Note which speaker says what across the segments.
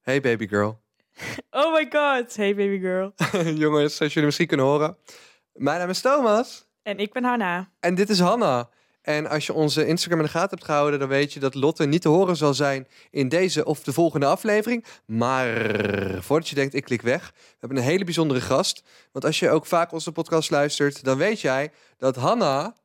Speaker 1: Hey baby girl.
Speaker 2: Oh my god. Hey baby girl.
Speaker 1: Jongens, zoals jullie misschien kunnen horen. Mijn naam is Thomas
Speaker 2: En ik ben Hanna.
Speaker 1: en dit is Hanna. En als je onze Instagram in de gaten hebt gehouden, dan weet je dat Lotte niet te horen zal zijn in deze of de volgende aflevering. Maar voordat je denkt, ik klik weg, we hebben een hele bijzondere gast. Want als je ook vaak onze podcast luistert, dan weet jij dat Hanna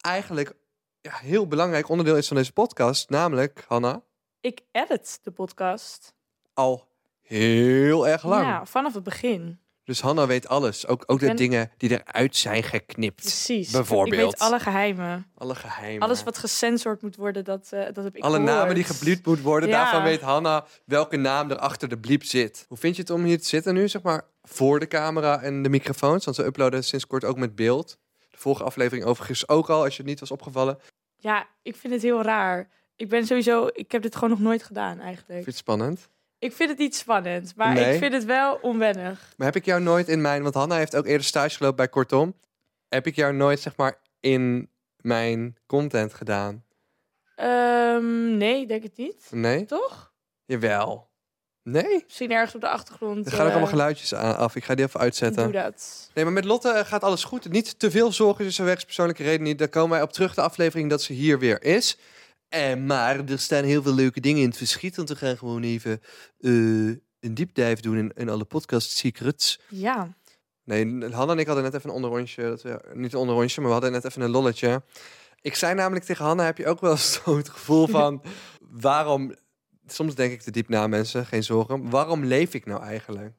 Speaker 1: eigenlijk ja, heel belangrijk onderdeel is van deze podcast. Namelijk, Hanna,
Speaker 2: Ik edit de podcast.
Speaker 1: al heel erg lang.
Speaker 2: Ja, vanaf het begin.
Speaker 1: Dus Hanna weet alles. Ook, ook de
Speaker 2: ben-
Speaker 1: dingen die eruit zijn geknipt.
Speaker 2: Precies.
Speaker 1: Bijvoorbeeld.
Speaker 2: Ik weet alle geheimen.
Speaker 1: Alle geheimen.
Speaker 2: Alles wat gesensord moet worden, dat, eh, dat heb ik
Speaker 1: alle
Speaker 2: gehoord.
Speaker 1: namen die gebliept moet worden.
Speaker 2: Ja.
Speaker 1: Daarvan weet Hanna welke naam er achter de bliep zit. Hoe vind je het om hier te zitten nu, zeg maar, voor de camera en de microfoons? Want ze uploaden sinds kort ook met beeld. De vorige aflevering overigens ook al, als je het niet was opgevallen. Vind
Speaker 2: Ja, ik vind het heel raar. Ik ben sowieso... Ik heb dit gewoon nog nooit gedaan
Speaker 1: je
Speaker 2: eigenlijk.
Speaker 1: het spannend?
Speaker 2: Ik vind het niet spannend, maar
Speaker 1: Nee.
Speaker 2: ik vind het wel onwennig.
Speaker 1: Maar heb ik jou nooit in mijn... Want Hanna heeft ook eerder stage gelopen bij Kortom. Heb ik jou nooit, zeg maar, in mijn content gedaan?
Speaker 2: Ehm, nee, ik denk het niet.
Speaker 1: Nee?
Speaker 2: Toch?
Speaker 1: Jawel. Nee?
Speaker 2: Misschien ergens op de achtergrond.
Speaker 1: Er gaan ook
Speaker 2: eh,
Speaker 1: allemaal geluidjes aan- af. Ik ga die even uitzetten.
Speaker 2: Doe dat.
Speaker 1: Nee, maar met Lotte eh, gaat alles goed. Niet te veel zorgen is er wegens persoonlijke reden niet. Daar komen wij op terug, de aflevering dat ze hier weer is. En, maar er staan heel veel leuke dingen in het verschiet. Want we gaan gewoon even eh, een deep dive doen in, in alle podcast secrets.
Speaker 2: Ja.
Speaker 1: Nee, Hanna en ik hadden net even een onderrondje. Dat we, niet een onderrondje, maar we hadden net even een lolletje. Ik zei namelijk tegen Hanna, heb je ook wel eens zo het gevoel van... waarom, soms denk ik te diep na mensen, geen zorgen. Waarom leef ik nou eigenlijk?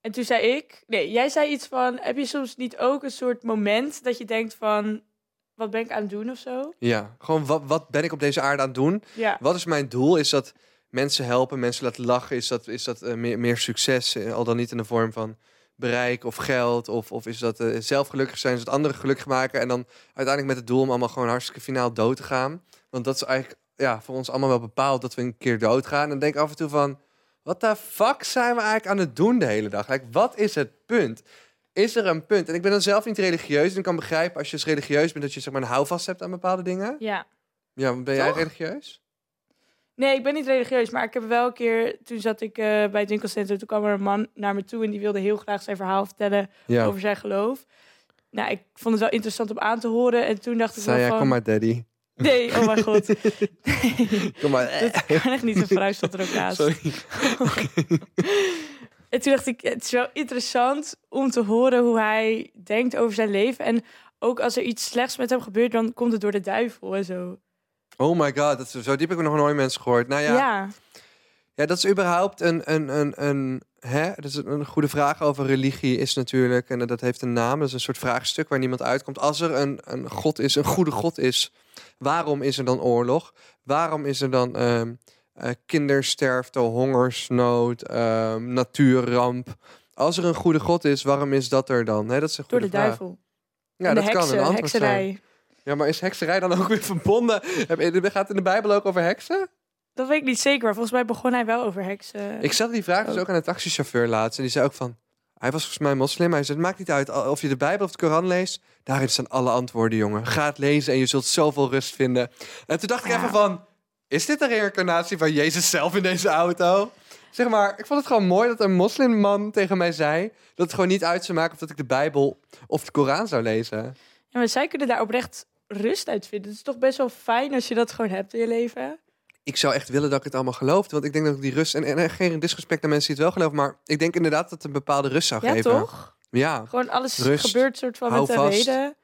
Speaker 2: En toen zei ik, nee, jij zei iets van, heb je soms niet ook een soort moment dat je denkt van, wat ben ik aan het doen of zo?
Speaker 1: Ja, gewoon wat, wat ben ik op deze aarde aan het doen?
Speaker 2: Ja,
Speaker 1: Wat is mijn doel? Is dat mensen helpen, mensen laten lachen? Is dat, is dat eh, meer, meer succes? eh, al dan niet in de vorm van bereik of geld? Of, of is dat eh, zelf gelukkig zijn, zodat anderen gelukkig maken? En dan uiteindelijk met het doel om allemaal gewoon hartstikke finaal dood te gaan. Want dat is eigenlijk ja, voor ons allemaal wel bepaald dat we een keer dood gaan. En dan denk ik af en toe van, wat de fuck zijn we eigenlijk aan het doen de hele dag? Like, wat is het punt? Is er een punt? En ik ben dan zelf niet religieus. En ik kan begrijpen als je als religieus bent dat je zeg maar, een houvast hebt aan bepaalde dingen.
Speaker 2: ja.
Speaker 1: Ja, ben jij
Speaker 2: Toch?
Speaker 1: religieus?
Speaker 2: Nee, ik ben niet religieus, maar ik heb wel een keer, toen zat ik eh, bij het winkelcentrum, toen kwam er een man naar me toe en die wilde heel graag zijn verhaal vertellen
Speaker 1: Ja.
Speaker 2: over zijn geloof. Nou, ik vond het wel interessant om aan te horen en toen dacht ik
Speaker 1: Zei
Speaker 2: wel
Speaker 1: jij,
Speaker 2: van...
Speaker 1: kom maar daddy.
Speaker 2: Nee, oh mijn god. Nee,
Speaker 1: Kom maar. eh,
Speaker 2: dat kan echt niet, een vrouw stond er ook naast.
Speaker 1: Sorry.
Speaker 2: En toen dacht ik, het is wel interessant om te horen hoe hij denkt over zijn leven. En ook als er iets slechts met hem gebeurt, dan komt het door de duivel en zo.
Speaker 1: Oh my god, dat, is- zo diep heb ik nog nooit mensen gehoord. Nou ja,
Speaker 2: Ja,
Speaker 1: ja. dat is überhaupt een, een, een, een, hè? Dat is een, een goede vraag over religie is natuurlijk. En dat heeft een naam, dat is een soort vraagstuk waar niemand uitkomt. Als er een, een god is, een goede god is, waarom is er dan oorlog? Waarom is er dan ehm, eh, kindersterfte, hongersnood, ehm, natuurramp? Als er een goede god is, waarom is dat er dan? Hè, dat is een
Speaker 2: door
Speaker 1: goede
Speaker 2: de
Speaker 1: vraag.
Speaker 2: duivel.
Speaker 1: Ja,
Speaker 2: en de
Speaker 1: dat
Speaker 2: heksen,
Speaker 1: kan een antwoord zijn.
Speaker 2: hekserij.
Speaker 1: Ja, maar is hekserij dan ook weer verbonden? Heb je- Gaat het in de Bijbel ook over heksen?
Speaker 2: Dat weet ik niet zeker, maar volgens mij begon hij wel over heksen.
Speaker 1: Ik stelde die vraag dus ook aan een taxichauffeur laatst. En die zei ook van... Hij was volgens mij moslim. Hij zei, het maakt niet uit al- of je de Bijbel of de Koran leest. Daarin staan alle antwoorden, jongen. Ga het lezen en je zult zoveel rust vinden. En toen dacht ik
Speaker 2: Ja.
Speaker 1: even van... Is dit de reïncarnatie van Jezus zelf in deze auto? Zeg maar, ik vond het gewoon mooi dat een moslimman tegen mij zei... dat het gewoon niet uit zou maken of dat ik de Bijbel of de Koran zou lezen.
Speaker 2: Ja, maar zij kunnen daar oprecht rust uit vinden. Het is toch best wel fijn als je dat gewoon hebt in je leven.
Speaker 1: ik zou echt willen dat ik het allemaal geloofde. Want ik denk dat ik die rust... En, en, en geen disrespect naar mensen die het wel geloven... maar ik denk inderdaad dat het een bepaalde rust zou
Speaker 2: Ja,
Speaker 1: geven.
Speaker 2: toch?
Speaker 1: Ja,
Speaker 2: Gewoon alles
Speaker 1: Rust,
Speaker 2: gebeurt soort van
Speaker 1: hou
Speaker 2: met een
Speaker 1: vast.
Speaker 2: reden.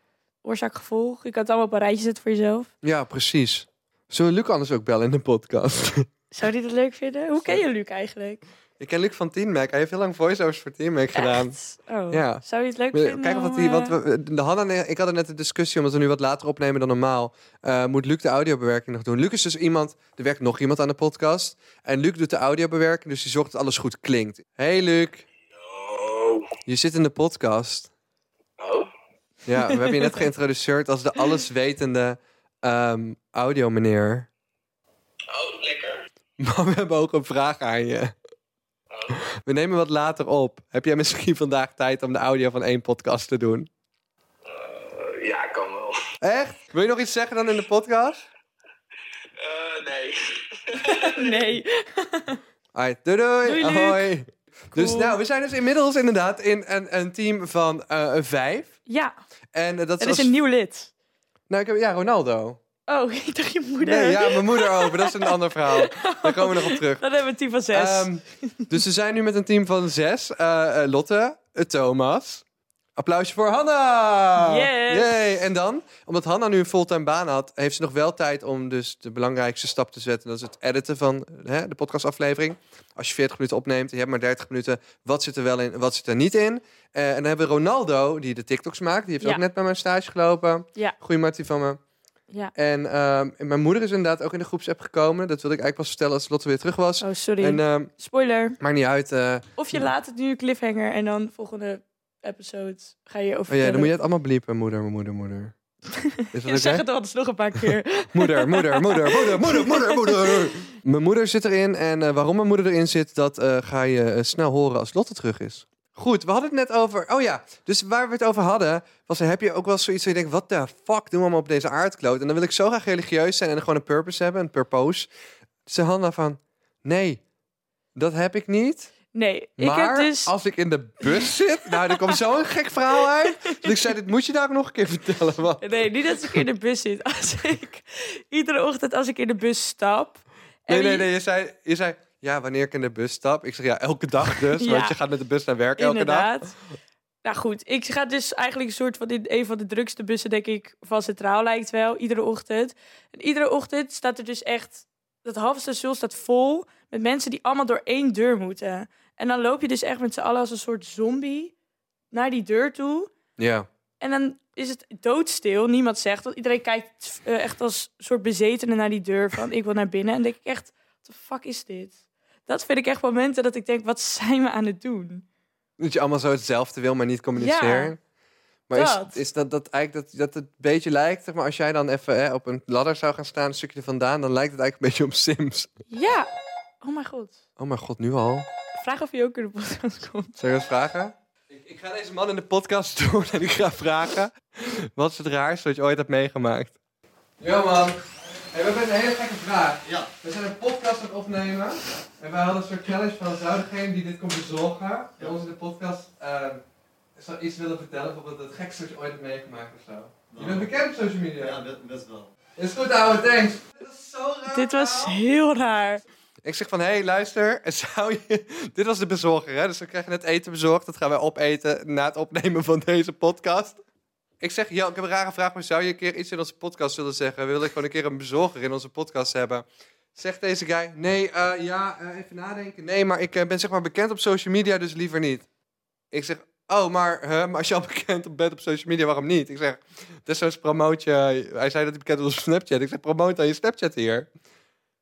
Speaker 2: Oorzaak, gevolg. Je kan het allemaal op een rijtje zetten voor jezelf.
Speaker 1: ja, precies. Zullen we Luc anders ook bellen in de podcast?
Speaker 2: Zou die dat leuk vinden? Hoe ken je Luc eigenlijk?
Speaker 1: ik ken Luc van Team Mac. Hij heeft heel lang voiceovers voor Team Mac gedaan.
Speaker 2: Echt? Oh.
Speaker 1: Ja.
Speaker 2: Zou je het leuk vinden?
Speaker 1: Kijk wat
Speaker 2: om,
Speaker 1: hij...
Speaker 2: eh,
Speaker 1: Wat we, de Hanna, en ik had er net een discussie, omdat we nu wat later opnemen dan normaal. eh, moet Luc de audiobewerking nog doen? Luc is dus iemand... Er werkt nog iemand aan de podcast. En Luc doet de audiobewerking, dus die zorgt dat alles goed klinkt. Hey Luc,
Speaker 3: Oh.
Speaker 1: je zit in de podcast.
Speaker 3: Oh.
Speaker 1: Ja, we hebben je net geïntroduceerd als de alleswetende ehm audio meneer.
Speaker 3: Oh, lekker.
Speaker 1: Maar we hebben ook een vraag aan je.
Speaker 3: Oh.
Speaker 1: We nemen wat later op. Heb jij misschien vandaag tijd om de audio van één podcast te doen?
Speaker 3: Eh, ja, kan wel.
Speaker 1: Echt? Wil je nog iets zeggen dan in de podcast?
Speaker 3: Eh, nee.
Speaker 2: Nee.
Speaker 1: Oké, Alright, doei doei.
Speaker 2: Doei, Luc.
Speaker 1: Hoi. Dus
Speaker 2: Cool.
Speaker 1: nou, we zijn dus inmiddels inderdaad in een, een team van eh, vijf.
Speaker 2: Ja,
Speaker 1: En eh, dat
Speaker 2: er
Speaker 1: is,
Speaker 2: is
Speaker 1: als-
Speaker 2: een nieuw lid.
Speaker 1: Nou, ik heb, ja, Ronaldo.
Speaker 2: Oh, ik dacht je moeder.
Speaker 1: Nee, ja, mijn moeder ook. maar Dat is een ander verhaal. Daar komen we nog op terug.
Speaker 2: Dan hebben we team van zes.
Speaker 1: Ehm, dus we zijn nu met een team van zes. Eh, eh, Lotte, eh, Thomas. Applausje voor Hanna!
Speaker 2: Yes.
Speaker 1: Yay. En dan, omdat Hanna nu een fulltime baan had, heeft ze nog wel tijd om dus de belangrijkste stap te zetten. Dat is het editen van hè, de podcastaflevering. Als je 40 minuten opneemt, je hebt maar 30 minuten. Wat zit er wel in, wat zit er niet in? Eh, en dan hebben we Ronaldo, die de TikToks maakt. Die heeft
Speaker 2: Ja.
Speaker 1: ook net bij mijn stage gelopen.
Speaker 2: Ja.
Speaker 1: Goeie Martie van me.
Speaker 2: ja.
Speaker 1: En ehm, en mijn moeder is inderdaad ook in de groepsapp gekomen. Dat wilde ik eigenlijk pas vertellen als Lotte weer terug was.
Speaker 2: Oh, sorry.
Speaker 1: En ehm,
Speaker 2: Spoiler.
Speaker 1: maakt niet uit. eh,
Speaker 2: Of je laat het nu cliffhanger en dan volgende episode ga je over.
Speaker 1: Oh ja, dan moet je het allemaal bliepen. Moeder, moeder, moeder. Is dat
Speaker 2: Zeg
Speaker 1: oké?
Speaker 2: het anders nog een paar keer.
Speaker 1: Moeder, moeder, moeder, moeder, moeder, moeder, moeder. Mijn moeder zit erin en eh, waarom mijn moeder erin zit, dat eh, ga je eh, snel horen als Lotte terug is. Goed, we hadden het net over... Oh ja, dus waar we het over hadden, was heb je ook wel zoiets dat je denkt... wat de fuck doen we allemaal op deze aardkloot? En dan wil ik zo graag religieus zijn en gewoon een purpose hebben, een purpose. Ze Hanna van, nee, dat heb ik niet.
Speaker 2: Nee, ik
Speaker 1: Maar
Speaker 2: heb dus.
Speaker 1: als ik in de bus zit, nou, er komt zo'n gek verhaal uit. Dus ik zei, dit moet je daar ook nog een keer vertellen. Want...
Speaker 2: Nee, niet als ik in de bus zit. Als ik iedere ochtend als ik in de bus stap. en
Speaker 1: Nee, nee,
Speaker 2: die-
Speaker 1: nee, je zei, je zei, ja, wanneer ik in de bus stap. Ik zeg, ja, elke dag dus,
Speaker 2: Ja.
Speaker 1: want je gaat met de bus naar werk elke dag.
Speaker 2: Inderdaad. Nou goed, ik ga dus eigenlijk een soort van in een van de drukste bussen, denk ik, van Centraal lijkt wel, iedere ochtend. En iedere ochtend staat er dus echt, dat halve station staat vol met mensen die allemaal door één deur moeten. En dan loop je dus echt met z'n allen als een soort zombie naar die deur toe.
Speaker 1: Ja.
Speaker 2: En dan is het doodstil, niemand zegt, want iedereen kijkt eh, echt als soort bezetene naar die deur van ik wil naar binnen. En denk ik echt, wat de fuck is dit? Dat vind ik echt momenten dat ik denk, wat zijn we aan het doen?
Speaker 1: Dat je allemaal zo hetzelfde wil, maar niet communiceren. maar
Speaker 2: dat.
Speaker 1: is, is dat, dat eigenlijk dat, dat het een beetje lijkt, zeg maar, als jij dan even hè, op een ladder zou gaan staan, een stukje er vandaan, dan lijkt het eigenlijk een beetje op Sims.
Speaker 2: Ja. Oh mijn god.
Speaker 1: Oh mijn god, nu al.
Speaker 2: Vraag of je ook in de podcast komt.
Speaker 1: Zou je wat vragen? Ik, ik ga deze man in de podcast doen en ik ga vragen... Wat is het raarste wat je ooit hebt meegemaakt? Yo man, hey, we hebben een hele gekke vraag.
Speaker 4: Ja.
Speaker 1: We zijn een podcast aan het opnemen. En wij hadden een soort challenge van zou degene die dit komt bezorgen... bij ons in de podcast eh, zou iets willen vertellen. Bijvoorbeeld het gekste wat je ooit hebt meegemaakt of zo. Je bent bekend op social media.
Speaker 4: Nou. Ja, best, best wel.
Speaker 1: Is goed ouwe, thanks. Dit is zo raar.
Speaker 2: Dit was
Speaker 1: verhaal.
Speaker 2: heel raar.
Speaker 1: Ik zeg van, hé, hey, luister, zou je... Dit was de bezorger, hè? Dus we krijgen net eten bezorgd. Dat gaan wij opeten na het opnemen van deze podcast. Ik zeg, ja, ik heb een rare vraag, maar zou je een keer iets in onze podcast willen zeggen? We willen gewoon een keer een bezorger in onze podcast hebben. Zegt deze guy, nee, eh, ja, eh, even nadenken. Nee, maar ik eh, ben zeg maar bekend op social media, dus liever niet. Ik zeg, oh, maar, hè, maar als je al bekend op bent op social media, waarom niet? Ik zeg, desnoods promoot je... Hij zei dat hij bekend was op Snapchat. Ik zeg, promoot dan je Snapchat hier.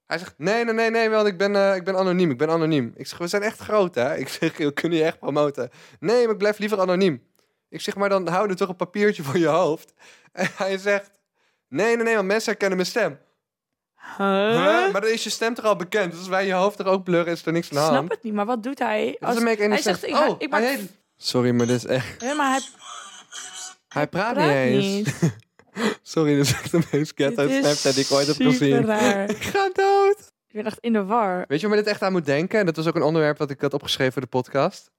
Speaker 1: Hij zegt, nee, nee, nee, nee, want ik ben, eh, ik ben anoniem, ik ben anoniem. Ik zeg, we zijn echt groot, hè? Ik zeg, we kunnen je echt promoten. Nee, maar ik blijf liever anoniem. Ik zeg, maar dan hou er toch een papiertje voor je hoofd. En hij zegt, nee, nee, nee, want mensen herkennen mijn stem. Huh?
Speaker 2: Huh?
Speaker 1: Maar dan is je stem toch al bekend? Dus als wij je hoofd er ook blurren, is er niks aan de
Speaker 2: Ik snap
Speaker 1: hand.
Speaker 2: het niet, maar wat doet hij?
Speaker 1: Dat
Speaker 2: Als...
Speaker 1: make any
Speaker 2: Hij zegt,
Speaker 1: sense.
Speaker 2: ik, ma-
Speaker 1: Oh,
Speaker 2: ik maak...
Speaker 1: hij heet- Sorry, maar dit is echt...
Speaker 2: Hè, maar hij
Speaker 1: Hij praat,
Speaker 2: praat
Speaker 1: niet eens.
Speaker 2: niet.
Speaker 1: Sorry, dit is echt de meest ghetto
Speaker 2: Dit is
Speaker 1: Snapchat die ik ooit heb
Speaker 2: super
Speaker 1: gezien.
Speaker 2: raar.
Speaker 1: Ik ga dood.
Speaker 2: Ik ben echt in de war.
Speaker 1: Weet je waar me dit echt aan moet denken? En dat was ook een onderwerp dat ik had opgeschreven voor de podcast.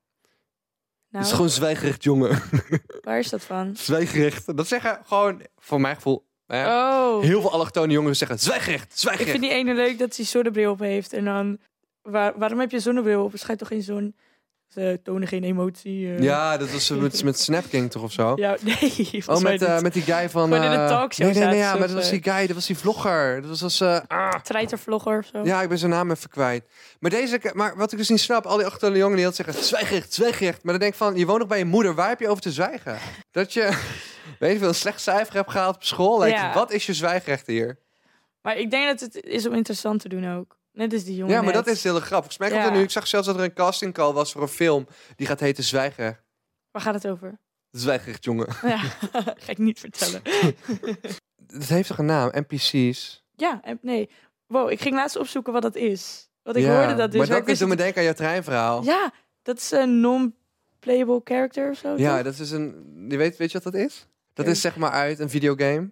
Speaker 2: Nou,
Speaker 1: Het is gewoon zwijgrecht, jongen.
Speaker 2: waar is dat van?
Speaker 1: zwijgrecht. Dat zeggen gewoon, voor mijn gevoel, hè,
Speaker 2: Oh,
Speaker 1: heel veel allochtone jongeren zeggen zwijgrecht,
Speaker 2: ik
Speaker 1: zwijgrecht.
Speaker 2: vind die ene leuk dat hij zonnebril op heeft. En dan, waar, waarom heb je zonnebril op? Het schijnt toch geen zon? Ze tonen geen emotie. eh.
Speaker 1: Ja, dat was met, met Snapking toch of zo?
Speaker 2: ja. Nee, volgens
Speaker 1: Oh,
Speaker 2: mij
Speaker 1: met, eh,
Speaker 2: niet.
Speaker 1: met die guy van...
Speaker 2: Gewoon in de
Speaker 1: eh,
Speaker 2: talkshow
Speaker 1: Nee, nee, nee,
Speaker 2: zaten
Speaker 1: ja, maar
Speaker 2: ze of, Oh.
Speaker 1: dat was
Speaker 2: eh,
Speaker 1: die guy, dat was die vlogger. Dat was als... eh, ah,
Speaker 2: Treitervlogger of zo.
Speaker 1: ja, ik ben zijn naam even kwijt. Maar, deze, ke- maar wat ik dus niet snap, al die allochtone jongeren die altijd zeggen zwijgrecht, zwijgrecht. Maar dan denk ik van, je woont nog bij je moeder, waar heb je over te zwijgen? Dat je, weet je veel, een slecht cijfer hebt gehaald op school. lijkt
Speaker 2: Ja.
Speaker 1: het, Wat is je zwijgrecht hier?
Speaker 2: Maar ik denk dat het is om interessant te doen ook. Net als die jongen
Speaker 1: Ja, maar
Speaker 2: net.
Speaker 1: dat is heel grappig. Volgens mij komt er
Speaker 2: Ja.
Speaker 1: nu. Ik zag zelfs dat er een castingcall was voor een film die gaat heten Zwijger.
Speaker 2: Waar gaat het over?
Speaker 1: Zwijgrecht, jongen.
Speaker 2: Ja, ga ik niet vertellen.
Speaker 1: Dat heeft toch een naam? NPC's.
Speaker 2: Ja, en- nee. Wow, ik ging laatst opzoeken wat dat is. Want ik
Speaker 1: Ja,
Speaker 2: hoorde dat dus.
Speaker 1: Maar dat
Speaker 2: maar ik
Speaker 1: is
Speaker 2: wist
Speaker 1: doet me
Speaker 2: het-
Speaker 1: denken aan jouw treinverhaal. Ja,
Speaker 2: Ja, dat is een non-playable character of zo. toch?
Speaker 1: dat is een. Je weet, weet je wat dat is? Dat
Speaker 2: Nee.
Speaker 1: is zeg maar uit een videogame.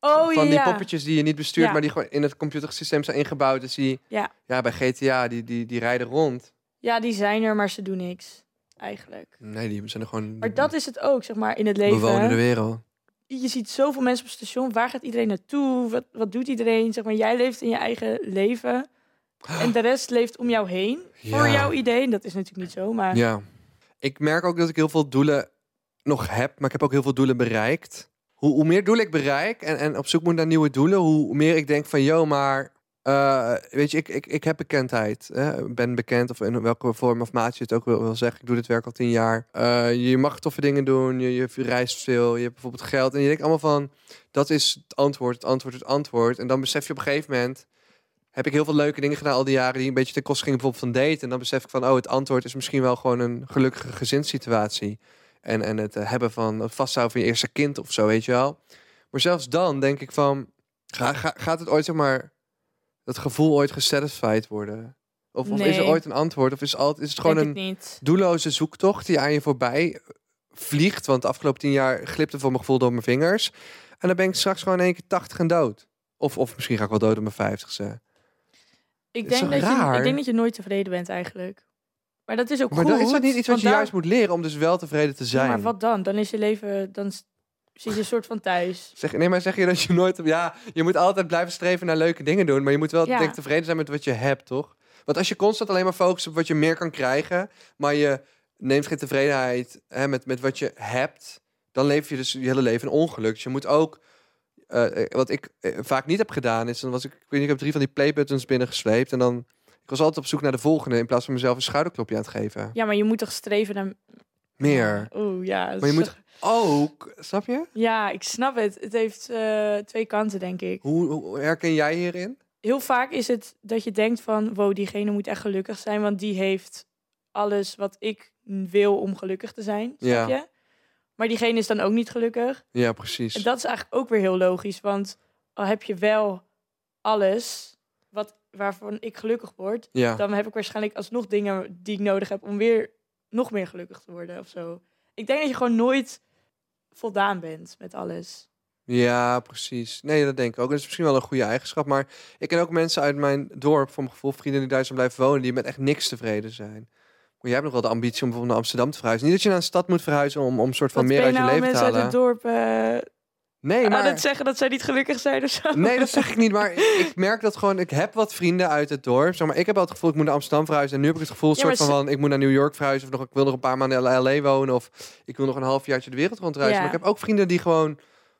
Speaker 2: Oh
Speaker 1: van
Speaker 2: ja.
Speaker 1: die poppetjes die je niet bestuurt,
Speaker 2: Ja.
Speaker 1: maar die gewoon in het computersysteem zijn ingebouwd. Dus die,
Speaker 2: Ja.
Speaker 1: ja, bij GTA, die, die, die rijden rond.
Speaker 2: Ja, die zijn er, maar ze doen niks. Eigenlijk.
Speaker 1: Nee, die zijn er gewoon...
Speaker 2: Maar dat is het ook, zeg maar, in het
Speaker 1: We
Speaker 2: leven.
Speaker 1: wonen de wereld.
Speaker 2: je ziet zoveel mensen op het station. Waar gaat iedereen naartoe? Wat, wat doet iedereen? Zeg maar, jij leeft in je eigen leven. En de rest leeft om jou heen. Voor
Speaker 1: Ja.
Speaker 2: jouw idee. En Dat is natuurlijk niet zo, maar...
Speaker 1: Ja. Ik merk ook dat ik heel veel doelen nog heb, maar ik heb ook heel veel doelen bereikt. Hoe, hoe meer doelen ik bereik en, en op zoek moet naar nieuwe doelen, hoe meer ik denk van, yo, maar eh, weet je, ik, ik, ik heb bekendheid. Hè? Ben bekend, of in welke vorm of maat je het ook wil, wil zeggen. Ik doe dit werk al tien jaar. Eh, je mag toffe dingen doen, je, je reist veel, je hebt bijvoorbeeld geld. En je denkt allemaal van, dat is het antwoord, het antwoord, het antwoord. En dan besef je op een gegeven moment, heb ik heel veel leuke dingen gedaan al die jaren die een beetje ten koste gingen bijvoorbeeld van daten. En dan besef ik van, oh, het antwoord is misschien wel gewoon een gelukkige gezinssituatie. En, en het eh, hebben van het vasthouden van je eerste kind of zo, weet je wel. Maar zelfs dan denk ik van, ga, ga- gaat het ooit, zeg maar, dat gevoel ooit gesatisfied worden? Of, of is er
Speaker 2: Nee.
Speaker 1: ooit een antwoord? Of is, het altijd, is het gewoon
Speaker 2: denk
Speaker 1: een
Speaker 2: ik niet.
Speaker 1: doelloze zoektocht die aan je voorbij eh, vliegt. Want de afgelopen tien jaar glipte voor mijn gevoel door mijn vingers. En dan ben ik straks gewoon in één keer tachtig en dood. Of, of misschien ga ik wel dood op mijn vijftigste.
Speaker 2: Ik
Speaker 1: Het is
Speaker 2: denk,
Speaker 1: toch
Speaker 2: dat je,
Speaker 1: raar?
Speaker 2: ik denk dat je nooit tevreden bent eigenlijk. Maar dat is ook
Speaker 1: Maar
Speaker 2: goed.
Speaker 1: dan is dat niet iets wat
Speaker 2: want
Speaker 1: je
Speaker 2: daar-
Speaker 1: juist moet leren om dus wel tevreden te
Speaker 2: Ja,
Speaker 1: zijn?
Speaker 2: Maar wat dan? Dan is je leven... Dan s- zit je een soort van thuis.
Speaker 1: Zeg, nee, maar zeg je dat je nooit... Ja, je moet altijd blijven streven naar leuke dingen doen. Maar je moet wel
Speaker 2: Ja.
Speaker 1: denk ik, tevreden zijn met wat je hebt, toch? Want als je constant alleen maar focust op wat je meer kan krijgen... maar je neemt geen tevredenheid hè, met, met wat je hebt... dan leef je dus je hele leven in ongeluk. Dus je moet ook... eh, eh, wat ik eh, vaak niet heb gedaan is... Dan was ik, ik, weet niet, ik heb drie van die playbuttons binnengesleept... en dan... Ik was altijd op zoek naar de volgende... in plaats van mezelf een schouderklopje aan het geven.
Speaker 2: Ja, maar je moet toch streven naar...
Speaker 1: Meer.
Speaker 2: Oeh, ja. dat
Speaker 1: Maar je
Speaker 2: is
Speaker 1: moet
Speaker 2: toch-
Speaker 1: ook... Snap je?
Speaker 2: Ja, ik snap het. Het heeft eh, twee kanten, denk ik.
Speaker 1: Hoe, hoe herken jij hierin?
Speaker 2: heel vaak is het dat je denkt van, wow, diegene moet echt gelukkig zijn, want die heeft alles wat ik wil om gelukkig te zijn, snap
Speaker 1: Ja.
Speaker 2: je? Maar diegene is dan ook niet gelukkig.
Speaker 1: Ja, precies.
Speaker 2: En dat is eigenlijk ook weer heel logisch, want al heb je wel alles wat, waarvan ik gelukkig word,
Speaker 1: ja.
Speaker 2: dan heb ik waarschijnlijk alsnog dingen die ik nodig heb om weer nog meer gelukkig te worden of zo. Ik denk dat je gewoon nooit voldaan bent met alles.
Speaker 1: Ja, precies. Nee, dat denk ik ook. Dat is misschien wel een goede eigenschap. Maar ik ken ook mensen uit mijn dorp, voor mijn gevoel, vrienden die daar zijn blijven wonen, die met echt niks tevreden zijn. Maar jij hebt nog wel de ambitie om bijvoorbeeld naar Amsterdam te verhuizen. Niet dat je naar een stad moet verhuizen om, om een soort van
Speaker 2: Wat
Speaker 1: meer
Speaker 2: ben
Speaker 1: uit
Speaker 2: je
Speaker 1: je
Speaker 2: nou
Speaker 1: leven te
Speaker 2: mensen uit het
Speaker 1: halen.
Speaker 2: dorp eh,
Speaker 1: Nee,
Speaker 2: aan
Speaker 1: maar...
Speaker 2: het zeggen dat zij niet gelukkig zijn of zo?
Speaker 1: Nee, dat zeg ik niet. Maar ik- ik merk dat gewoon. Ik heb wat vrienden uit het dorp. Zeg maar, ik heb al het gevoel, ik moet naar Amsterdam verhuizen. En nu heb ik het gevoel,
Speaker 2: Ja,
Speaker 1: soort
Speaker 2: maar
Speaker 1: van, van, ik moet naar New York verhuizen. Of nog, ik wil nog een paar maanden in LA wonen. Of ik wil nog een halfjaartje de wereld rondreizen.
Speaker 2: Ja.
Speaker 1: Maar ik heb ook vrienden die gewoon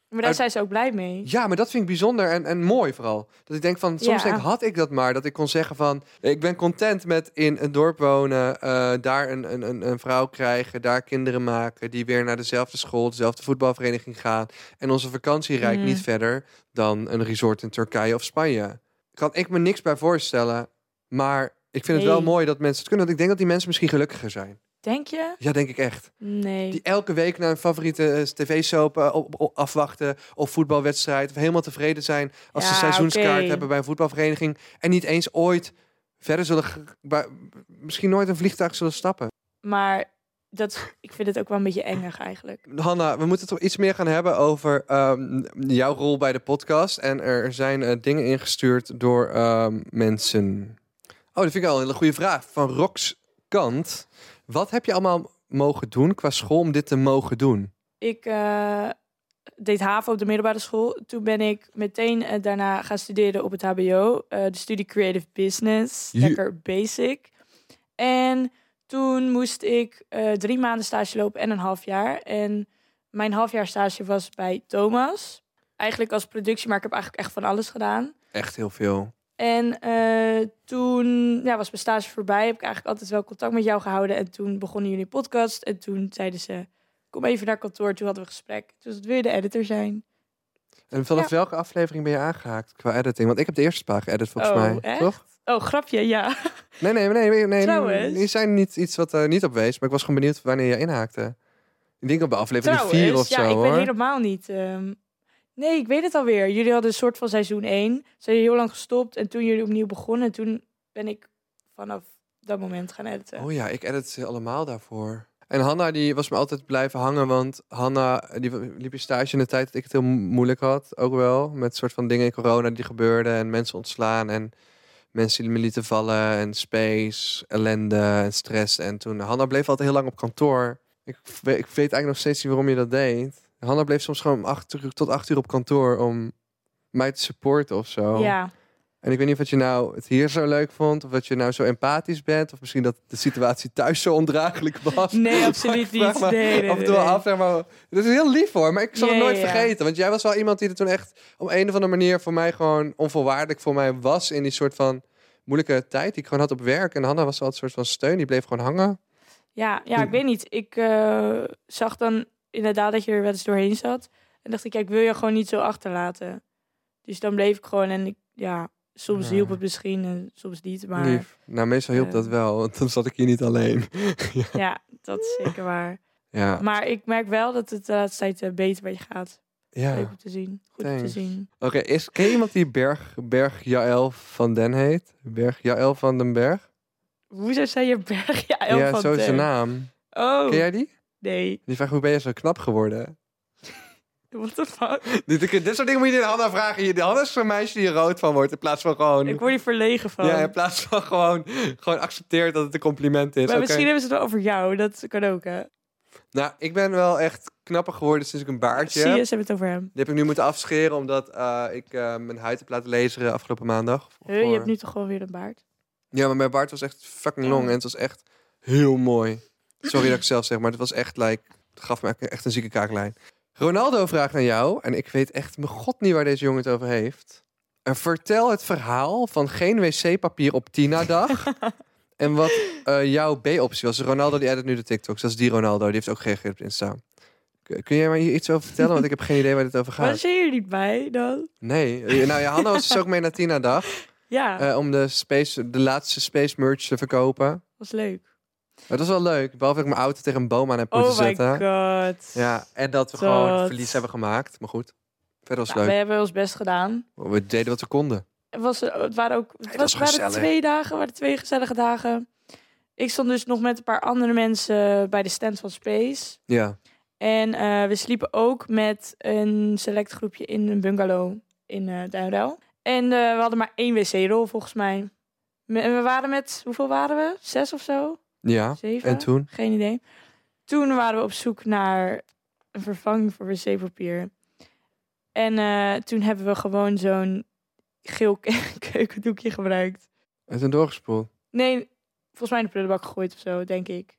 Speaker 2: Maar daar
Speaker 1: Uit-
Speaker 2: zijn ze ook blij mee.
Speaker 1: Ja, maar dat vind ik bijzonder en, en mooi vooral. Dat ik denk van, soms
Speaker 2: Ja.
Speaker 1: denk, had ik dat maar. Dat ik kon zeggen van, ik ben content met in een dorp wonen, eh, daar een, een, een, een vrouw krijgen, daar kinderen maken, die weer naar dezelfde school, dezelfde voetbalvereniging gaan. En onze vakantie reikt
Speaker 2: Mm.
Speaker 1: niet verder dan een resort in Turkije of Spanje. Kan ik me niks bij voorstellen, maar ik vind het wel
Speaker 2: Nee.
Speaker 1: mooi dat mensen het kunnen. Want ik denk dat die mensen misschien gelukkiger zijn.
Speaker 2: Denk je?
Speaker 1: Ja, denk ik echt.
Speaker 2: Nee.
Speaker 1: Die elke week naar hun favoriete eh, tv-soap eh, op- op- afwachten. Of voetbalwedstrijd. Of helemaal tevreden zijn als ze
Speaker 2: Ja,
Speaker 1: seizoenskaart
Speaker 2: oké.
Speaker 1: hebben bij een voetbalvereniging. En niet eens ooit verder zullen... ge- bij- misschien nooit een vliegtuig zullen stappen.
Speaker 2: Maar dat, ik vind het ook wel een beetje engig eigenlijk.
Speaker 1: Hanna, we moeten het toch iets meer gaan hebben over ehm, jouw rol bij de podcast. En er zijn eh, dingen ingestuurd door ehm, mensen. Oh, dat vind ik al een hele goede vraag. Van Rox Kant. Wat heb je allemaal mogen doen qua school om dit te mogen doen?
Speaker 2: Ik eh, deed HAVO op de middelbare school. Toen ben ik meteen eh, daarna gaan studeren op het HBO. eh, de studie Creative Business.
Speaker 1: Ju-
Speaker 2: Lekker basic. En toen moest ik eh, drie maanden stage lopen en een half jaar. En mijn halfjaar stage was bij Thomas. Eigenlijk als productie, maar ik heb eigenlijk echt van alles gedaan.
Speaker 1: Echt heel veel.
Speaker 2: En eh, toen ja, was mijn stage voorbij. Heb ik eigenlijk altijd wel contact met jou gehouden. En toen begonnen jullie podcast. En toen zeiden ze, kom even naar kantoor. Toen hadden we een gesprek. Dus dat wil je de editor zijn.
Speaker 1: En vanaf welke aflevering ben je aangehaakt qua editing? Want ik heb de eerste paar geëdit volgens
Speaker 2: Oh,
Speaker 1: mij.
Speaker 2: echt?
Speaker 1: Toch?
Speaker 2: Oh, grapje, ja.
Speaker 1: Nee, nee, nee. nee, nee
Speaker 2: Trouwens.
Speaker 1: Je zei niet iets wat er niet op wees, maar ik was gewoon benieuwd wanneer je inhaakte. Ik denk op de aflevering
Speaker 2: Trouwens,
Speaker 1: 4 of
Speaker 2: ja,
Speaker 1: zo
Speaker 2: ik
Speaker 1: hoor.
Speaker 2: weet helemaal niet. ehm, nee, ik weet het alweer. Jullie hadden een soort van seizoen 1. Zijn jullie heel lang gestopt. En toen jullie opnieuw begonnen. En toen ben ik vanaf dat moment gaan editen.
Speaker 1: Oh ja, ik edit ze allemaal daarvoor. En Hanna die was me altijd blijven hangen, want Hanna eh, die liep in stage in de tijd dat ik het heel mo- moeilijk had, ook wel. Met soort van dingen in corona die gebeurden en mensen ontslaan en mensen die me lieten vallen en space, ellende en stress. En toen, Hanna bleef altijd heel lang op kantoor. Ik, we- ik weet eigenlijk nog steeds niet waarom je dat deed. Hanna bleef soms gewoon om acht uur, tot acht uur op kantoor om mij te supporten of zo.
Speaker 2: Ja.
Speaker 1: En ik weet niet of wat je nou het hier zo leuk vond, of dat je nou zo empathisch bent, of misschien dat de situatie thuis zo ondraaglijk was.
Speaker 2: Nee,
Speaker 1: Maar ik
Speaker 2: absoluut
Speaker 1: vraag
Speaker 2: niet.
Speaker 1: me
Speaker 2: Nee, nee,
Speaker 1: af en toe wel
Speaker 2: nee, nee.
Speaker 1: af, zeg maar. Dat is heel lief hoor, maar ik zal het
Speaker 2: Ja,
Speaker 1: nooit
Speaker 2: ja, ja.
Speaker 1: vergeten. Want jij was wel iemand die er toen echt op een of andere manier voor mij gewoon onvoorwaardelijk voor mij was in die soort van moeilijke tijd die ik gewoon had op werk. En Hanna was altijd een soort van steun, die bleef gewoon hangen.
Speaker 2: Ja, ja, ik weet niet. Ik eh, zag dan inderdaad dat je er wel eens doorheen zat. En dacht ik, ja, ik wil je gewoon niet zo achterlaten. Dus dan bleef ik gewoon en ik, ja, soms
Speaker 1: Ja.
Speaker 2: hielp het misschien en soms niet. Maar
Speaker 1: Lief. Nou, meestal hielp
Speaker 2: eh,
Speaker 1: dat wel, want dan zat ik hier niet alleen.
Speaker 2: ja, dat is zeker waar.
Speaker 1: ja.
Speaker 2: Maar ik merk wel dat het de laatste tijd eh, beter bij je gaat. Leuk
Speaker 1: ja.
Speaker 2: om te zien. Goed om
Speaker 1: Thanks.
Speaker 2: te zien.
Speaker 1: Oké, is ken je iemand die Berg, Berg Jaël van Den heet? Berg Jaël van den Berg?
Speaker 2: Hoezo zei je Berg? Ja, Elf
Speaker 1: ja,
Speaker 2: van
Speaker 1: zo is
Speaker 2: Ten.
Speaker 1: zijn naam.
Speaker 2: Oh,
Speaker 1: Ken jij die?
Speaker 2: nee.
Speaker 1: Die vraagt, hoe ben je zo knap geworden?
Speaker 2: What the fuck?
Speaker 1: Dit, dit dit soort dingen moet je aan Hanna vragen. Je- Hanna is zo'n meisje die er rood van wordt. In plaats van gewoon...
Speaker 2: Ik word hier verlegen van.
Speaker 1: ja, in plaats van gewoon, gewoon accepteert dat het een compliment is.
Speaker 2: maar
Speaker 1: Oké.
Speaker 2: misschien hebben ze het wel over jou. Dat kan ook, hè?
Speaker 1: Nou, ik ben wel echt knapper geworden sinds ik een baardje
Speaker 2: Zie je, ze
Speaker 1: heb.
Speaker 2: hebben het over hem.
Speaker 1: Die heb ik nu moeten afscheren omdat eh, ik eh, mijn huid heb laten laseren afgelopen maandag.
Speaker 2: Huh, je
Speaker 1: Voor-
Speaker 2: hebt nu toch gewoon weer een baard?
Speaker 1: Ja, maar mijn baard was echt fucking long en het was echt heel mooi. Sorry dat ik het zelf zeg, maar het was echt, like, het gaf me echt een zieke kaaklijn. Ronaldo vraagt aan jou, en ik weet echt mijn god niet waar deze jongen het over heeft. En vertel het verhaal van geen wc-papier op Tina-dag. en wat eh, jouw B-optie was. Ronaldo die edit nu de TikToks, dat is die Ronaldo, die heeft ook gereageerd op Insta. K- Kun jij mij hier iets over vertellen? Want ik heb geen idee waar dit over
Speaker 2: Was
Speaker 1: gaat.
Speaker 2: je hier niet bij dan?
Speaker 1: Nee. Eh, Nou ja, Hanna was dus ook mee naar Tina-dag.
Speaker 2: Ja,
Speaker 1: eh, om de, space, de laatste space merch te verkopen.
Speaker 2: was leuk.
Speaker 1: Dat was wel leuk. Behalve dat ik mijn auto tegen een boom aan heb moeten
Speaker 2: Oh my
Speaker 1: zetten.
Speaker 2: god.
Speaker 1: Ja, en dat we
Speaker 2: Dat.
Speaker 1: gewoon verlies hebben gemaakt. Maar goed, verder was het
Speaker 2: Nou, we
Speaker 1: leuk.
Speaker 2: hebben ons best gedaan.
Speaker 1: We deden wat we konden.
Speaker 2: Het, was, eh, het waren ook het
Speaker 1: was
Speaker 2: was, waren
Speaker 1: gezellig.
Speaker 2: twee dagen, waren twee gezellige dagen. Ik stond dus nog met een paar andere mensen eh, bij de stand van Space.
Speaker 1: Ja.
Speaker 2: En eh, we sliepen ook met een select groepje in een bungalow in eh Duinruil. En eh, we hadden maar één wc-rol volgens mij. Me- En we waren met, hoeveel waren we? Zes of zo?
Speaker 1: Ja.
Speaker 2: Zeven?
Speaker 1: En toen?
Speaker 2: Geen idee. Toen waren we op zoek naar een vervanging voor wc-papier. En eh, toen hebben we gewoon zo'n geel ke- keukendoekje gebruikt.
Speaker 1: En toen doorgespoeld.
Speaker 2: Nee, volgens mij in de prullenbak gegooid of zo, denk ik.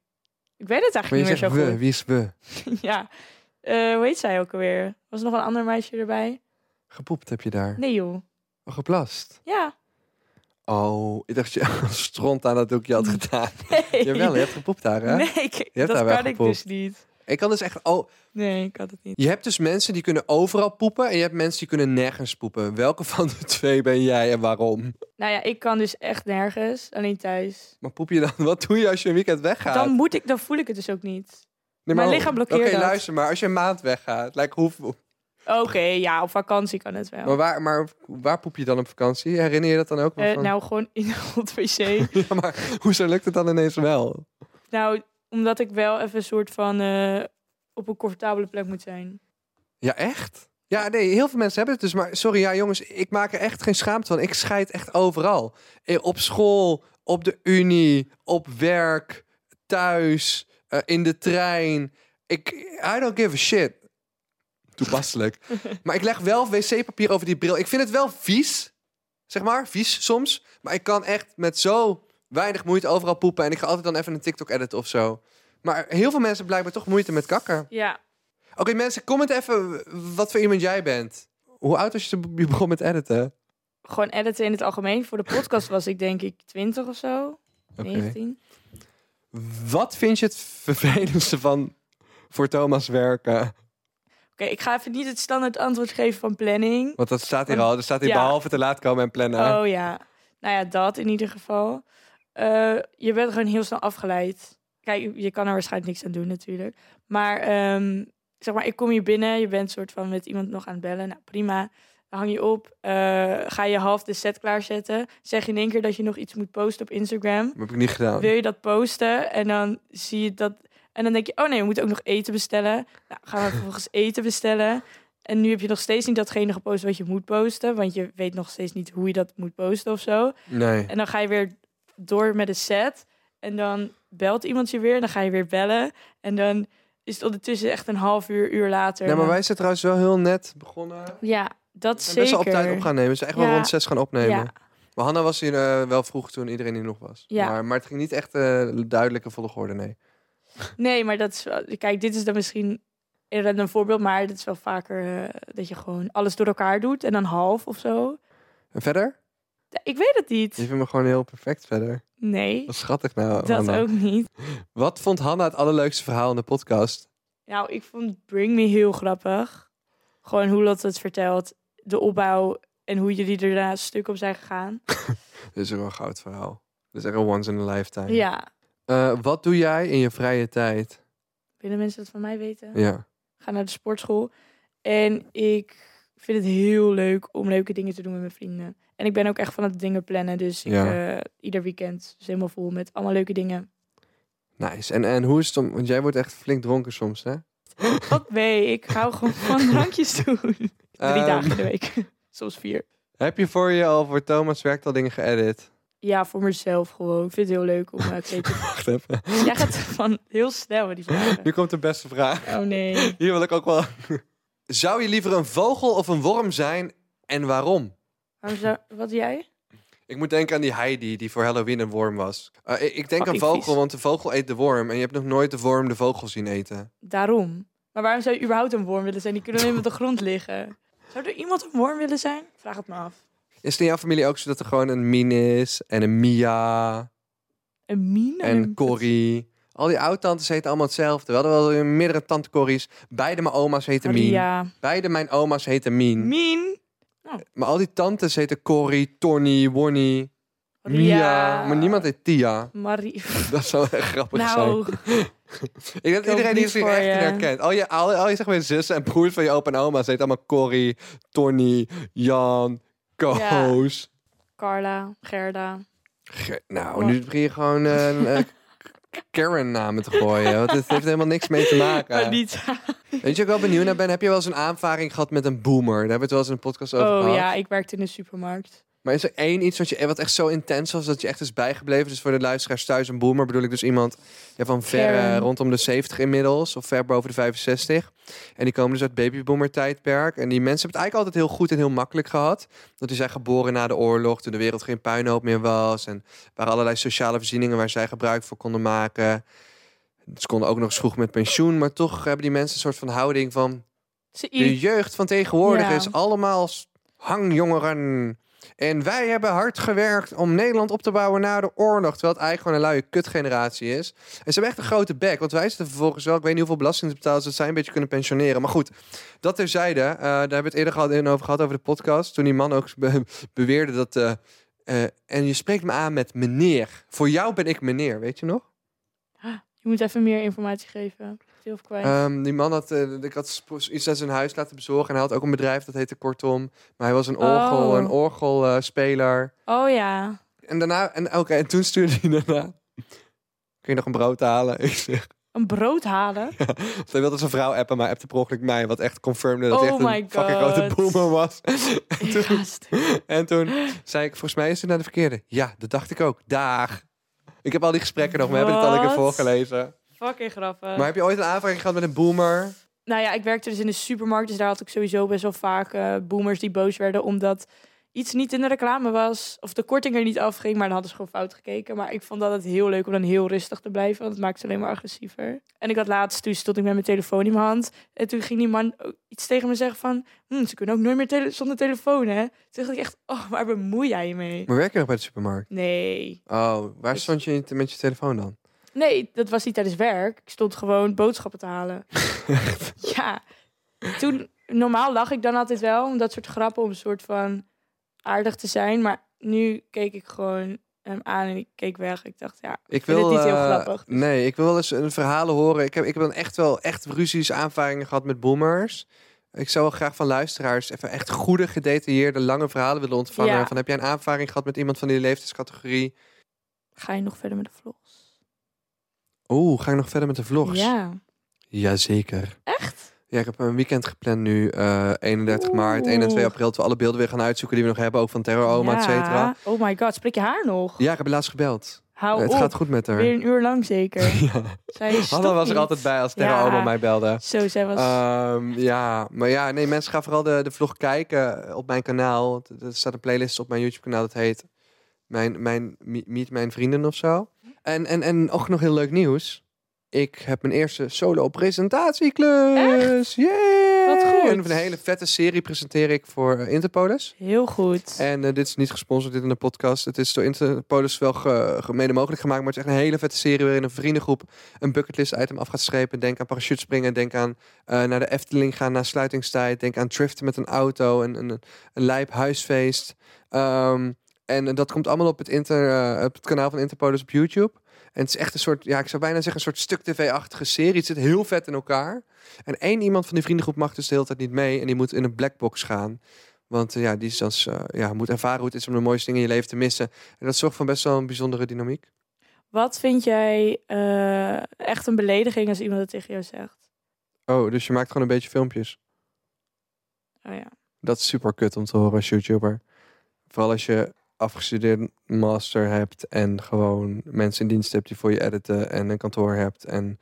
Speaker 2: Ik weet het
Speaker 1: Maar
Speaker 2: eigenlijk
Speaker 1: je
Speaker 2: niet meer
Speaker 1: zegt
Speaker 2: zo
Speaker 1: we.
Speaker 2: goed.
Speaker 1: Wie is we?
Speaker 2: Ja. Eh, hoe heet zij ook alweer? Was er nog een ander meisje erbij?
Speaker 1: Gepoept heb je daar.
Speaker 2: Nee, joh.
Speaker 1: Oh, geplast.
Speaker 2: Ja.
Speaker 1: Oh, ik dacht dat je stront aan dat doekje had gedaan.
Speaker 2: Nee.
Speaker 1: Jawel, je hebt gepoept daar, hè?
Speaker 2: Nee, ik-
Speaker 1: daar
Speaker 2: dat
Speaker 1: wel
Speaker 2: kan ik
Speaker 1: gepoept.
Speaker 2: dus niet.
Speaker 1: Ik kan dus echt... Oh,
Speaker 2: Nee, ik had het niet.
Speaker 1: je hebt dus mensen die kunnen overal poepen... en je hebt mensen die kunnen nergens poepen. Welke van de twee ben jij en waarom?
Speaker 2: Nou ja, ik kan dus echt nergens. Alleen thuis.
Speaker 1: Maar poep je dan... Wat doe je als je een weekend weggaat?
Speaker 2: Dan moet ik, dan voel ik het dus ook niet.
Speaker 1: Nee,
Speaker 2: Mijn
Speaker 1: maar- oh,
Speaker 2: lichaam blokkeert
Speaker 1: Oké,
Speaker 2: dat.
Speaker 1: luister, maar als je een maand weggaat, like, hoe,
Speaker 2: Oké, ja, op vakantie kan het wel.
Speaker 1: maar, waar, maar waar poep je dan op vakantie? Herinner je dat dan ook? wel
Speaker 2: Eh,
Speaker 1: van-
Speaker 2: nou, gewoon in een hot wc.
Speaker 1: ja, maar hoezo lukt het dan ineens wel?
Speaker 2: nou, omdat ik wel even een soort van eh, op een comfortabele plek moet zijn.
Speaker 1: Ja, echt? Ja, nee, heel veel mensen hebben het dus. Maar sorry, ja, jongens, ik maak er echt geen schaamte van. Ik scheid echt overal. Eh, Op school, op de unie, op werk, thuis, eh, in de trein. Ik, I don't give a shit. Toepasselijk. maar ik leg wel wc-papier over die bril. Ik vind het wel vies, zeg maar, vies soms. Maar ik kan echt met zo weinig moeite overal poepen. En ik ga altijd dan even een TikTok editen of zo. Maar heel veel mensen hebben blijkbaar toch moeite met kakken.
Speaker 2: Ja.
Speaker 1: Oké, mensen, comment even wat voor iemand jij bent. Hoe oud was je toen je begon met editen?
Speaker 2: Gewoon editen in het algemeen. Voor de podcast was ik denk ik 20 of zo.
Speaker 1: Oké.
Speaker 2: 19.
Speaker 1: Wat vind je het vervelendste van voor Thomas werken?
Speaker 2: Oké, ik ga even niet het standaard antwoord geven van planning.
Speaker 1: Want dat staat hier al. Er staat hier
Speaker 2: Ja.
Speaker 1: behalve te laat komen en plannen.
Speaker 2: Oh ja. Nou ja, dat in ieder geval. Eh, je bent gewoon heel snel afgeleid. Kijk, je kan er waarschijnlijk niks aan doen natuurlijk. Maar ehm, zeg maar, ik kom hier binnen. Je bent soort van met iemand nog aan het bellen. Nou, prima. Dan hang je op. Eh, ga je half de set klaarzetten. Zeg in één keer dat je nog iets moet posten op Instagram.
Speaker 1: Dat heb ik niet gedaan.
Speaker 2: Wil je dat posten? En dan zie je dat... En dan denk je, oh nee, we moeten ook nog eten bestellen. Nou, gaan we vervolgens eten bestellen. En nu heb je nog steeds niet datgene gepost wat je moet posten. Want je weet nog steeds niet hoe je dat moet posten of zo.
Speaker 1: Nee.
Speaker 2: En dan ga je weer door met een set. En dan belt iemand je weer. En dan ga je weer bellen. En dan is het ondertussen echt een half uur, uur later.
Speaker 1: Nee, maar wij zijn trouwens wel heel net begonnen. We
Speaker 2: Ja, dat
Speaker 1: zijn
Speaker 2: zeker.
Speaker 1: best wel op tijd op gaan nemen. We zijn echt wel
Speaker 2: Ja.
Speaker 1: rond zes gaan opnemen.
Speaker 2: Ja.
Speaker 1: Maar Hanna was hier eh, wel vroeg toen iedereen hier nog was.
Speaker 2: Ja.
Speaker 1: Maar, maar het ging niet echt eh duidelijke volgorde, nee.
Speaker 2: Nee, maar dat is wel... Kijk, dit is dan misschien inderdaad een voorbeeld. Maar dat is wel vaker eh, dat je gewoon alles door elkaar doet. En dan half of zo.
Speaker 1: En verder?
Speaker 2: Ja, Ik weet het
Speaker 1: Je
Speaker 2: niet.
Speaker 1: vindt me gewoon heel perfect verder.
Speaker 2: Nee,
Speaker 1: Wat schattig nou,
Speaker 2: dat
Speaker 1: Hanna.
Speaker 2: ook niet.
Speaker 1: Wat vond Hanna het allerleukste verhaal in de podcast?
Speaker 2: Nou, ik vond Bring Me heel grappig. Gewoon hoe dat het vertelt. De opbouw en hoe jullie daarna stuk op zijn gegaan.
Speaker 1: Dit is wel een goud verhaal. Dit is echt een once in a lifetime.
Speaker 2: Ja.
Speaker 1: Eh, wat doe jij in je vrije tijd?
Speaker 2: Willen mensen dat van mij weten?
Speaker 1: Ja.
Speaker 2: Ga naar de sportschool. En ik vind het heel leuk om leuke dingen te doen met mijn vrienden. En ik ben ook echt van het dingen plannen. Dus ik,
Speaker 1: Ja.
Speaker 2: eh, ieder weekend is helemaal vol met allemaal leuke dingen.
Speaker 1: Nice. En, en hoe is het om... Want jij wordt echt flink dronken soms, hè?
Speaker 2: Wat mee? Ik hou gewoon van drankjes doen. Drie
Speaker 1: Ehm,
Speaker 2: dagen in de week. Soms vier.
Speaker 1: Heb je voor je al voor Thomas werkt al dingen geëdit?
Speaker 2: Ja, voor mezelf gewoon. Ik vind het heel leuk om eh, creatief
Speaker 1: Wacht even.
Speaker 2: Jij gaat van heel snel met die vragen.
Speaker 1: Nu komt de beste vraag.
Speaker 2: Oh nee.
Speaker 1: Hier wil ik ook wel... Zou je liever een vogel of een worm zijn en waarom?
Speaker 2: Waarom zou- wat jij?
Speaker 1: Ik moet denken aan die Heidi die voor Halloween een worm was. Eh, ik, ik denk aan
Speaker 2: Fucking
Speaker 1: vogel,
Speaker 2: vies.
Speaker 1: want de vogel eet de worm. En je hebt nog nooit de worm de vogel zien eten.
Speaker 2: Daarom. Maar waarom zou je überhaupt een worm willen zijn? Die kunnen alleen maar op de grond liggen. Zou er iemand een worm willen zijn? Vraag het me af.
Speaker 1: Is het in jouw familie ook zo dat er gewoon een Min is en een Mia?
Speaker 2: Een mine?
Speaker 1: en Corrie. Al die oud-tantes heten allemaal hetzelfde. We hadden wel weer meerdere tante Corries. Beide mijn oma's heten Mien.
Speaker 2: Ja.
Speaker 1: Beide mijn oma's heten Mien.
Speaker 2: Mien.
Speaker 1: Maar al die tantes heten Corrie, Tony, Wonnie, Mia.
Speaker 2: Ria.
Speaker 1: Maar niemand heet Tia.
Speaker 2: Marie.
Speaker 1: Dat zou echt grappig zijn.
Speaker 2: Nou,
Speaker 1: Ik denk dat
Speaker 2: hoop
Speaker 1: iedereen die
Speaker 2: niet
Speaker 1: zich
Speaker 2: voor
Speaker 1: echt
Speaker 2: je.
Speaker 1: niet herkent. Al je, al, al je zeg maar, zussen en broers van je opa en oma's heten allemaal Corrie, Tony, Jan, Koos.
Speaker 2: Carla, Gerda.
Speaker 1: Ge- Nou, nu begin je gewoon eh, een eh, Karen-namen te gooien. Want het heeft helemaal niks mee te maken.
Speaker 2: Anita.
Speaker 1: Weet je, waar ik wel benieuwd naar ben, heb je wel eens een aanvaring gehad met een boomer? Daar hebben we het wel eens in een podcast over
Speaker 2: Oh
Speaker 1: gehad.
Speaker 2: ja, ik werkte in de supermarkt.
Speaker 1: Maar is er één iets wat, je, wat echt zo intens was dat je echt is bijgebleven? Dus voor de luisteraars thuis, een boomer bedoel ik dus iemand ja, van ver eh,
Speaker 2: Karen.
Speaker 1: rondom de 70 inmiddels, of ver boven de 65. En die komen dus uit babyboomer tijdperk. En die mensen hebben het eigenlijk altijd heel goed en heel makkelijk gehad. Want die zijn geboren na de oorlog, toen de wereld geen puinhoop meer was. En er waren allerlei sociale voorzieningen waar zij gebruik van konden maken. Ze konden ook nog eens vroeg met pensioen, maar toch hebben die mensen een soort van houding van...
Speaker 2: Ze
Speaker 1: De
Speaker 2: i-
Speaker 1: jeugd van tegenwoordig
Speaker 2: Ja.
Speaker 1: is allemaal s- hangjongeren. En wij hebben hard gewerkt om Nederland op te bouwen na de oorlog. Terwijl het eigenlijk gewoon een luie kutgeneratie is. En ze hebben echt een grote bek. Want wij zitten vervolgens wel, ik weet niet hoeveel belasting ze betalen. Ze zijn een beetje kunnen pensioneren. Maar goed, dat terzijde. eh, daar hebben we het eerder gehad, in over gehad, over de podcast. Toen die man ook be- beweerde dat... eh, eh, en je spreekt me aan met meneer. Voor jou ben ik meneer, weet je nog?
Speaker 2: Je moet even meer informatie geven. Veel of kwijt.
Speaker 1: Ehm, die man had, eh, ik had sp- iets uit zijn huis laten bezorgen. En hij had ook een bedrijf, dat heette Kortom. Maar hij was een orgel,
Speaker 2: Oh.
Speaker 1: een orgelspeler.
Speaker 2: oh ja.
Speaker 1: En daarna, en oké, en toen stuurde hij daarna... Kun je nog een brood halen? Ik zeg,
Speaker 2: Een brood halen?
Speaker 1: want hij wilde zijn vrouw appen, maar appte per ongeluk mij. Wat echt confirmde dat hij
Speaker 2: Oh
Speaker 1: echt
Speaker 2: my
Speaker 1: een fucking grote
Speaker 2: God.
Speaker 1: boomer was. en, toen,
Speaker 2: Gast.
Speaker 1: en toen zei ik, volgens mij is het naar de verkeerde. Ja, dat dacht ik ook. Daag. Ik heb al die gesprekken nog, we hebben het al een keer
Speaker 2: Wat?
Speaker 1: voorgelezen.
Speaker 2: Fucking grappig.
Speaker 1: Maar heb je ooit een aanvraag gehad met een boomer?
Speaker 2: Nou ja, ik werkte dus in de supermarkt, dus daar had ik sowieso best wel vaak eh, boomers die boos werden omdat iets niet in de reclame was of de korting er niet afging, maar dan hadden ze gewoon fout gekeken. Maar ik vond dat het heel leuk om dan heel rustig te blijven, want het maakt ze alleen maar agressiever. En ik had laatst, toen stond ik met mijn telefoon in mijn hand en toen ging die man ook iets tegen me zeggen van, "Hm, ze kunnen ook nooit meer tele- zonder telefoon, hè? Toen dacht ik echt, oh, waar bemoei jij je mee?
Speaker 1: Maar werk je nog bij de supermarkt?
Speaker 2: Nee.
Speaker 1: Oh, waar
Speaker 2: Dus-
Speaker 1: stond je in- met je telefoon dan?
Speaker 2: Nee, dat was niet tijdens werk. Ik stond gewoon boodschappen te halen. ja. Toen, normaal lach ik dan altijd wel om dat soort grappen, om een soort van aardig te zijn. Maar nu keek ik gewoon hem aan en ik keek weg. Ik dacht, ja,
Speaker 1: Ik
Speaker 2: vind
Speaker 1: wil
Speaker 2: het niet heel
Speaker 1: eh,
Speaker 2: grappig, dus-
Speaker 1: Nee, ik wil wel eens een verhalen horen. Ik heb, ik heb dan echt wel echt ruzies, aanvaringen gehad met boomers. Ik zou wel graag van luisteraars even echt goede, gedetailleerde, lange verhalen willen ontvangen.
Speaker 2: Ja.
Speaker 1: Van heb jij een aanvaring gehad met iemand van die leeftijdscategorie?
Speaker 2: ga je nog verder met de vlogs?
Speaker 1: Oeh, ga ik nog verder met de vlogs?
Speaker 2: Ja.
Speaker 1: Jazeker.
Speaker 2: Echt?
Speaker 1: Ja, ik heb een weekend gepland nu, eh 31 maart, 1 en 2
Speaker 2: Oeh.
Speaker 1: april. Dat we alle beelden weer gaan uitzoeken die we nog hebben, ook van Terror Oma,
Speaker 2: ja.
Speaker 1: et cetera.
Speaker 2: Oh my god, spreek je haar nog?
Speaker 1: Ja, ik heb haar laatst gebeld.
Speaker 2: Hou
Speaker 1: het
Speaker 2: op.
Speaker 1: gaat goed met haar.
Speaker 2: Oh, Weer een uur lang zeker.
Speaker 1: Ja.
Speaker 2: Zij stopt
Speaker 1: Hanna was
Speaker 2: niet.
Speaker 1: er altijd bij als Terra
Speaker 2: Ja.
Speaker 1: Oma mij belde.
Speaker 2: Zo, zij was...
Speaker 1: Ehm, ja, maar ja, nee, mensen gaan vooral de, de vlog kijken op mijn kanaal. Want Er staat een playlist op mijn YouTube-kanaal dat heet mijn, mijn, Mi- Meet Mijn Vrienden of zo. En, en, en ook nog heel leuk nieuws. Ik heb mijn eerste solo-presentatieklus. Yeah!
Speaker 2: Wat goed.
Speaker 1: En een hele vette serie presenteer ik voor eh, Interpolis.
Speaker 2: Heel goed.
Speaker 1: En eh, dit is niet gesponsord, dit in de podcast. Het is door Interpolis wel ge- ge- mede mogelijk gemaakt. Maar het is echt een hele vette serie waarin een vriendengroep een bucketlist item af gaat strepen. Denk aan parachutespringen, denk aan eh, naar de Efteling gaan na sluitingstijd. Denk aan driften met een auto, een, een, een lijp huisfeest. Ehm, en eh, dat komt allemaal op het, inter, eh, op het kanaal van Interpolis op YouTube. En het is echt een soort, ja, ik zou bijna zeggen, een soort stuk tv-achtige serie. Het zit heel vet in elkaar. En één iemand van die vriendengroep mag dus de hele tijd niet mee. En die moet in een blackbox gaan. Want eh, ja, die is dan, s- eh, ja, moet ervaren hoe het is om de mooiste dingen in je leven te missen. En dat zorgt voor best wel een bijzondere dynamiek.
Speaker 2: Wat vind jij eh, echt een belediging als iemand het tegen jou zegt?
Speaker 1: Oh, dus je maakt gewoon een beetje filmpjes.
Speaker 2: Oh ja.
Speaker 1: Dat is super kut om te horen als YouTuber. Vooral als je afgestudeerd master hebt en gewoon mensen in dienst hebt die voor je editen en een kantoor hebt. En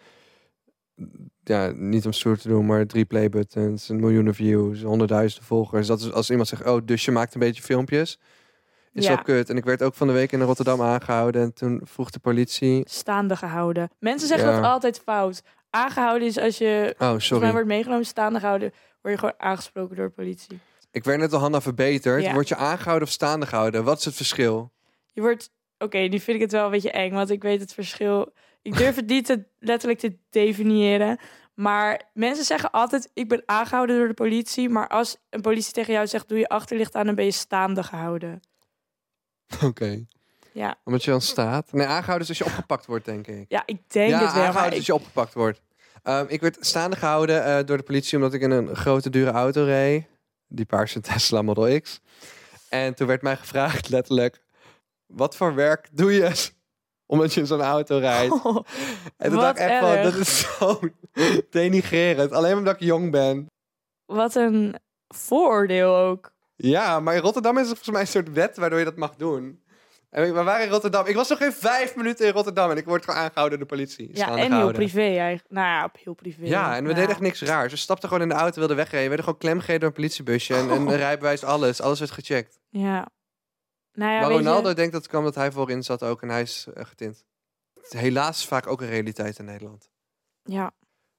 Speaker 1: ja, niet om stoer te doen, maar drie playbuttons, een miljoenen views, honderdduizenden volgers. Dat is als iemand zegt, oh, dus je maakt een beetje filmpjes. Is
Speaker 2: Ja.
Speaker 1: wel kut. En ik werd ook van de week in Rotterdam aangehouden. En toen vroeg de politie,
Speaker 2: Staande gehouden. Mensen zeggen
Speaker 1: Ja.
Speaker 2: dat altijd fout. Aangehouden is als je
Speaker 1: Oh,
Speaker 2: volgens mij
Speaker 1: sorry.
Speaker 2: Dus wordt meegenomen, staande gehouden, word je gewoon aangesproken door de politie.
Speaker 1: Ik werd net al Hanna verbeterd.
Speaker 2: Ja.
Speaker 1: Word je aangehouden of staande gehouden? Wat is het verschil?
Speaker 2: Je wordt, oké, nu vind ik het wel een beetje eng, want ik weet het verschil. Ik durf het niet te, letterlijk te definiëren. Maar mensen zeggen altijd, ik ben aangehouden door de politie. Maar als een politie tegen jou zegt, doe je achterlicht aan, dan ben je staande gehouden.
Speaker 1: Oké.
Speaker 2: Ja.
Speaker 1: Omdat je dan staat. Nee, aangehouden is als je opgepakt wordt, denk ik.
Speaker 2: Ja, ik denk
Speaker 1: ja,
Speaker 2: het wel. Maar
Speaker 1: aangehouden
Speaker 2: ik,
Speaker 1: is als je opgepakt wordt. Ehm, ik werd staande gehouden eh, door de politie omdat ik in een grote dure auto reed. Die paarse Tesla Model X. En toen werd mij gevraagd, letterlijk, wat voor werk doe je omdat je in zo'n auto rijdt? en toen
Speaker 2: Oh, wat
Speaker 1: dacht ik echt van,
Speaker 2: erg.
Speaker 1: dat is zo denigrerend. Alleen omdat ik jong ben.
Speaker 2: Wat een vooroordeel ook.
Speaker 1: Ja, maar in Rotterdam is er volgens mij een soort wet waardoor je dat mag doen. En we waren in Rotterdam. Ik was nog geen vijf minuten in Rotterdam en ik word gewoon aangehouden door de politie.
Speaker 2: Ja,
Speaker 1: Staande
Speaker 2: en heel
Speaker 1: gehouden.
Speaker 2: privé eigenlijk. Nou ja, op heel privé.
Speaker 1: Ja, en we
Speaker 2: Nou,
Speaker 1: deden echt niks raars. Ze stapten gewoon in de auto, wilden wegrijden. We werden gewoon klemgereden door een politiebusje. En,
Speaker 2: Oh.
Speaker 1: en een rijbewijs, alles. Alles werd gecheckt.
Speaker 2: Ja. Nou ja,
Speaker 1: maar
Speaker 2: weet je-
Speaker 1: Ronaldo denkt dat het kwam dat hij voorin zat ook en hij is eh, getint. Het is helaas vaak ook een realiteit in Nederland.
Speaker 2: ja,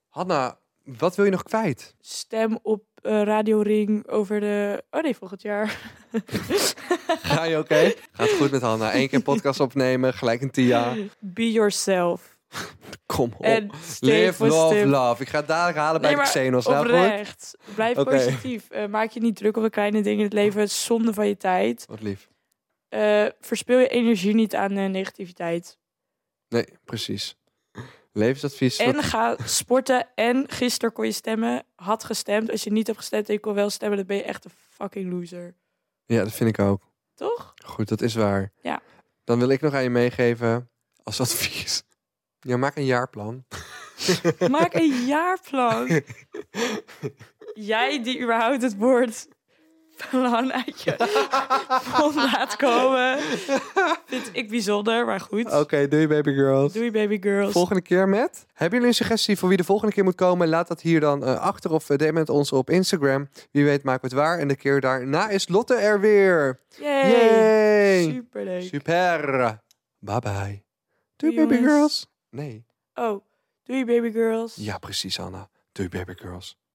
Speaker 1: Hanna, wat wil je nog kwijt?
Speaker 2: stem op eh, Radio Ring over de... Oh nee, volgend jaar.
Speaker 1: Ga je oké? Gaat goed met Hanna. Eén keer podcast opnemen, gelijk een Tia.
Speaker 2: Be yourself.
Speaker 1: Kom op.
Speaker 2: En stay
Speaker 1: Oh, Live, love,
Speaker 2: positive.
Speaker 1: love. Ik ga het dadelijk halen bij
Speaker 2: Nee,
Speaker 1: de
Speaker 2: maar
Speaker 1: Xenos. Nou goed.
Speaker 2: Oprecht. Blijf
Speaker 1: Oké.
Speaker 2: positief. Eh, maak je niet druk over kleine dingen in het leven. Het is zonde van je tijd.
Speaker 1: Wat lief.
Speaker 2: Eh, verspil je energie niet aan eh, negativiteit.
Speaker 1: Nee, precies. Levensadvies.
Speaker 2: En ga sporten. En gisteren kon je stemmen. Had gestemd. Als je niet hebt gestemd en je kon wel stemmen, dan ben je echt een fucking loser.
Speaker 1: Ja, dat vind ik ook.
Speaker 2: Toch?
Speaker 1: Goed, dat is waar.
Speaker 2: Ja.
Speaker 1: Dan wil ik nog aan je meegeven als advies. Ja, maak een jaarplan.
Speaker 2: Maak een jaarplan. Jij die überhaupt het woord plan uit je mond laat komen. Vind ik bijzonder, maar goed.
Speaker 1: Oké, doei baby girls.
Speaker 2: Doei baby girls.
Speaker 1: Volgende keer met. Hebben jullie een suggestie voor wie de volgende keer moet komen? Laat dat hier dan eh, achter of eh, DM het ons op Instagram. Wie weet maken we het waar. En de keer daarna is Lotte er weer.
Speaker 2: Yay.
Speaker 1: Yay.
Speaker 2: Superleuk.
Speaker 1: Super. Bye bye. Doei,
Speaker 2: Doei,
Speaker 1: baby
Speaker 2: jongens.
Speaker 1: girls. Nee.
Speaker 2: Oh, doei baby girls.
Speaker 1: Ja, precies, Anna. Doei, baby girls.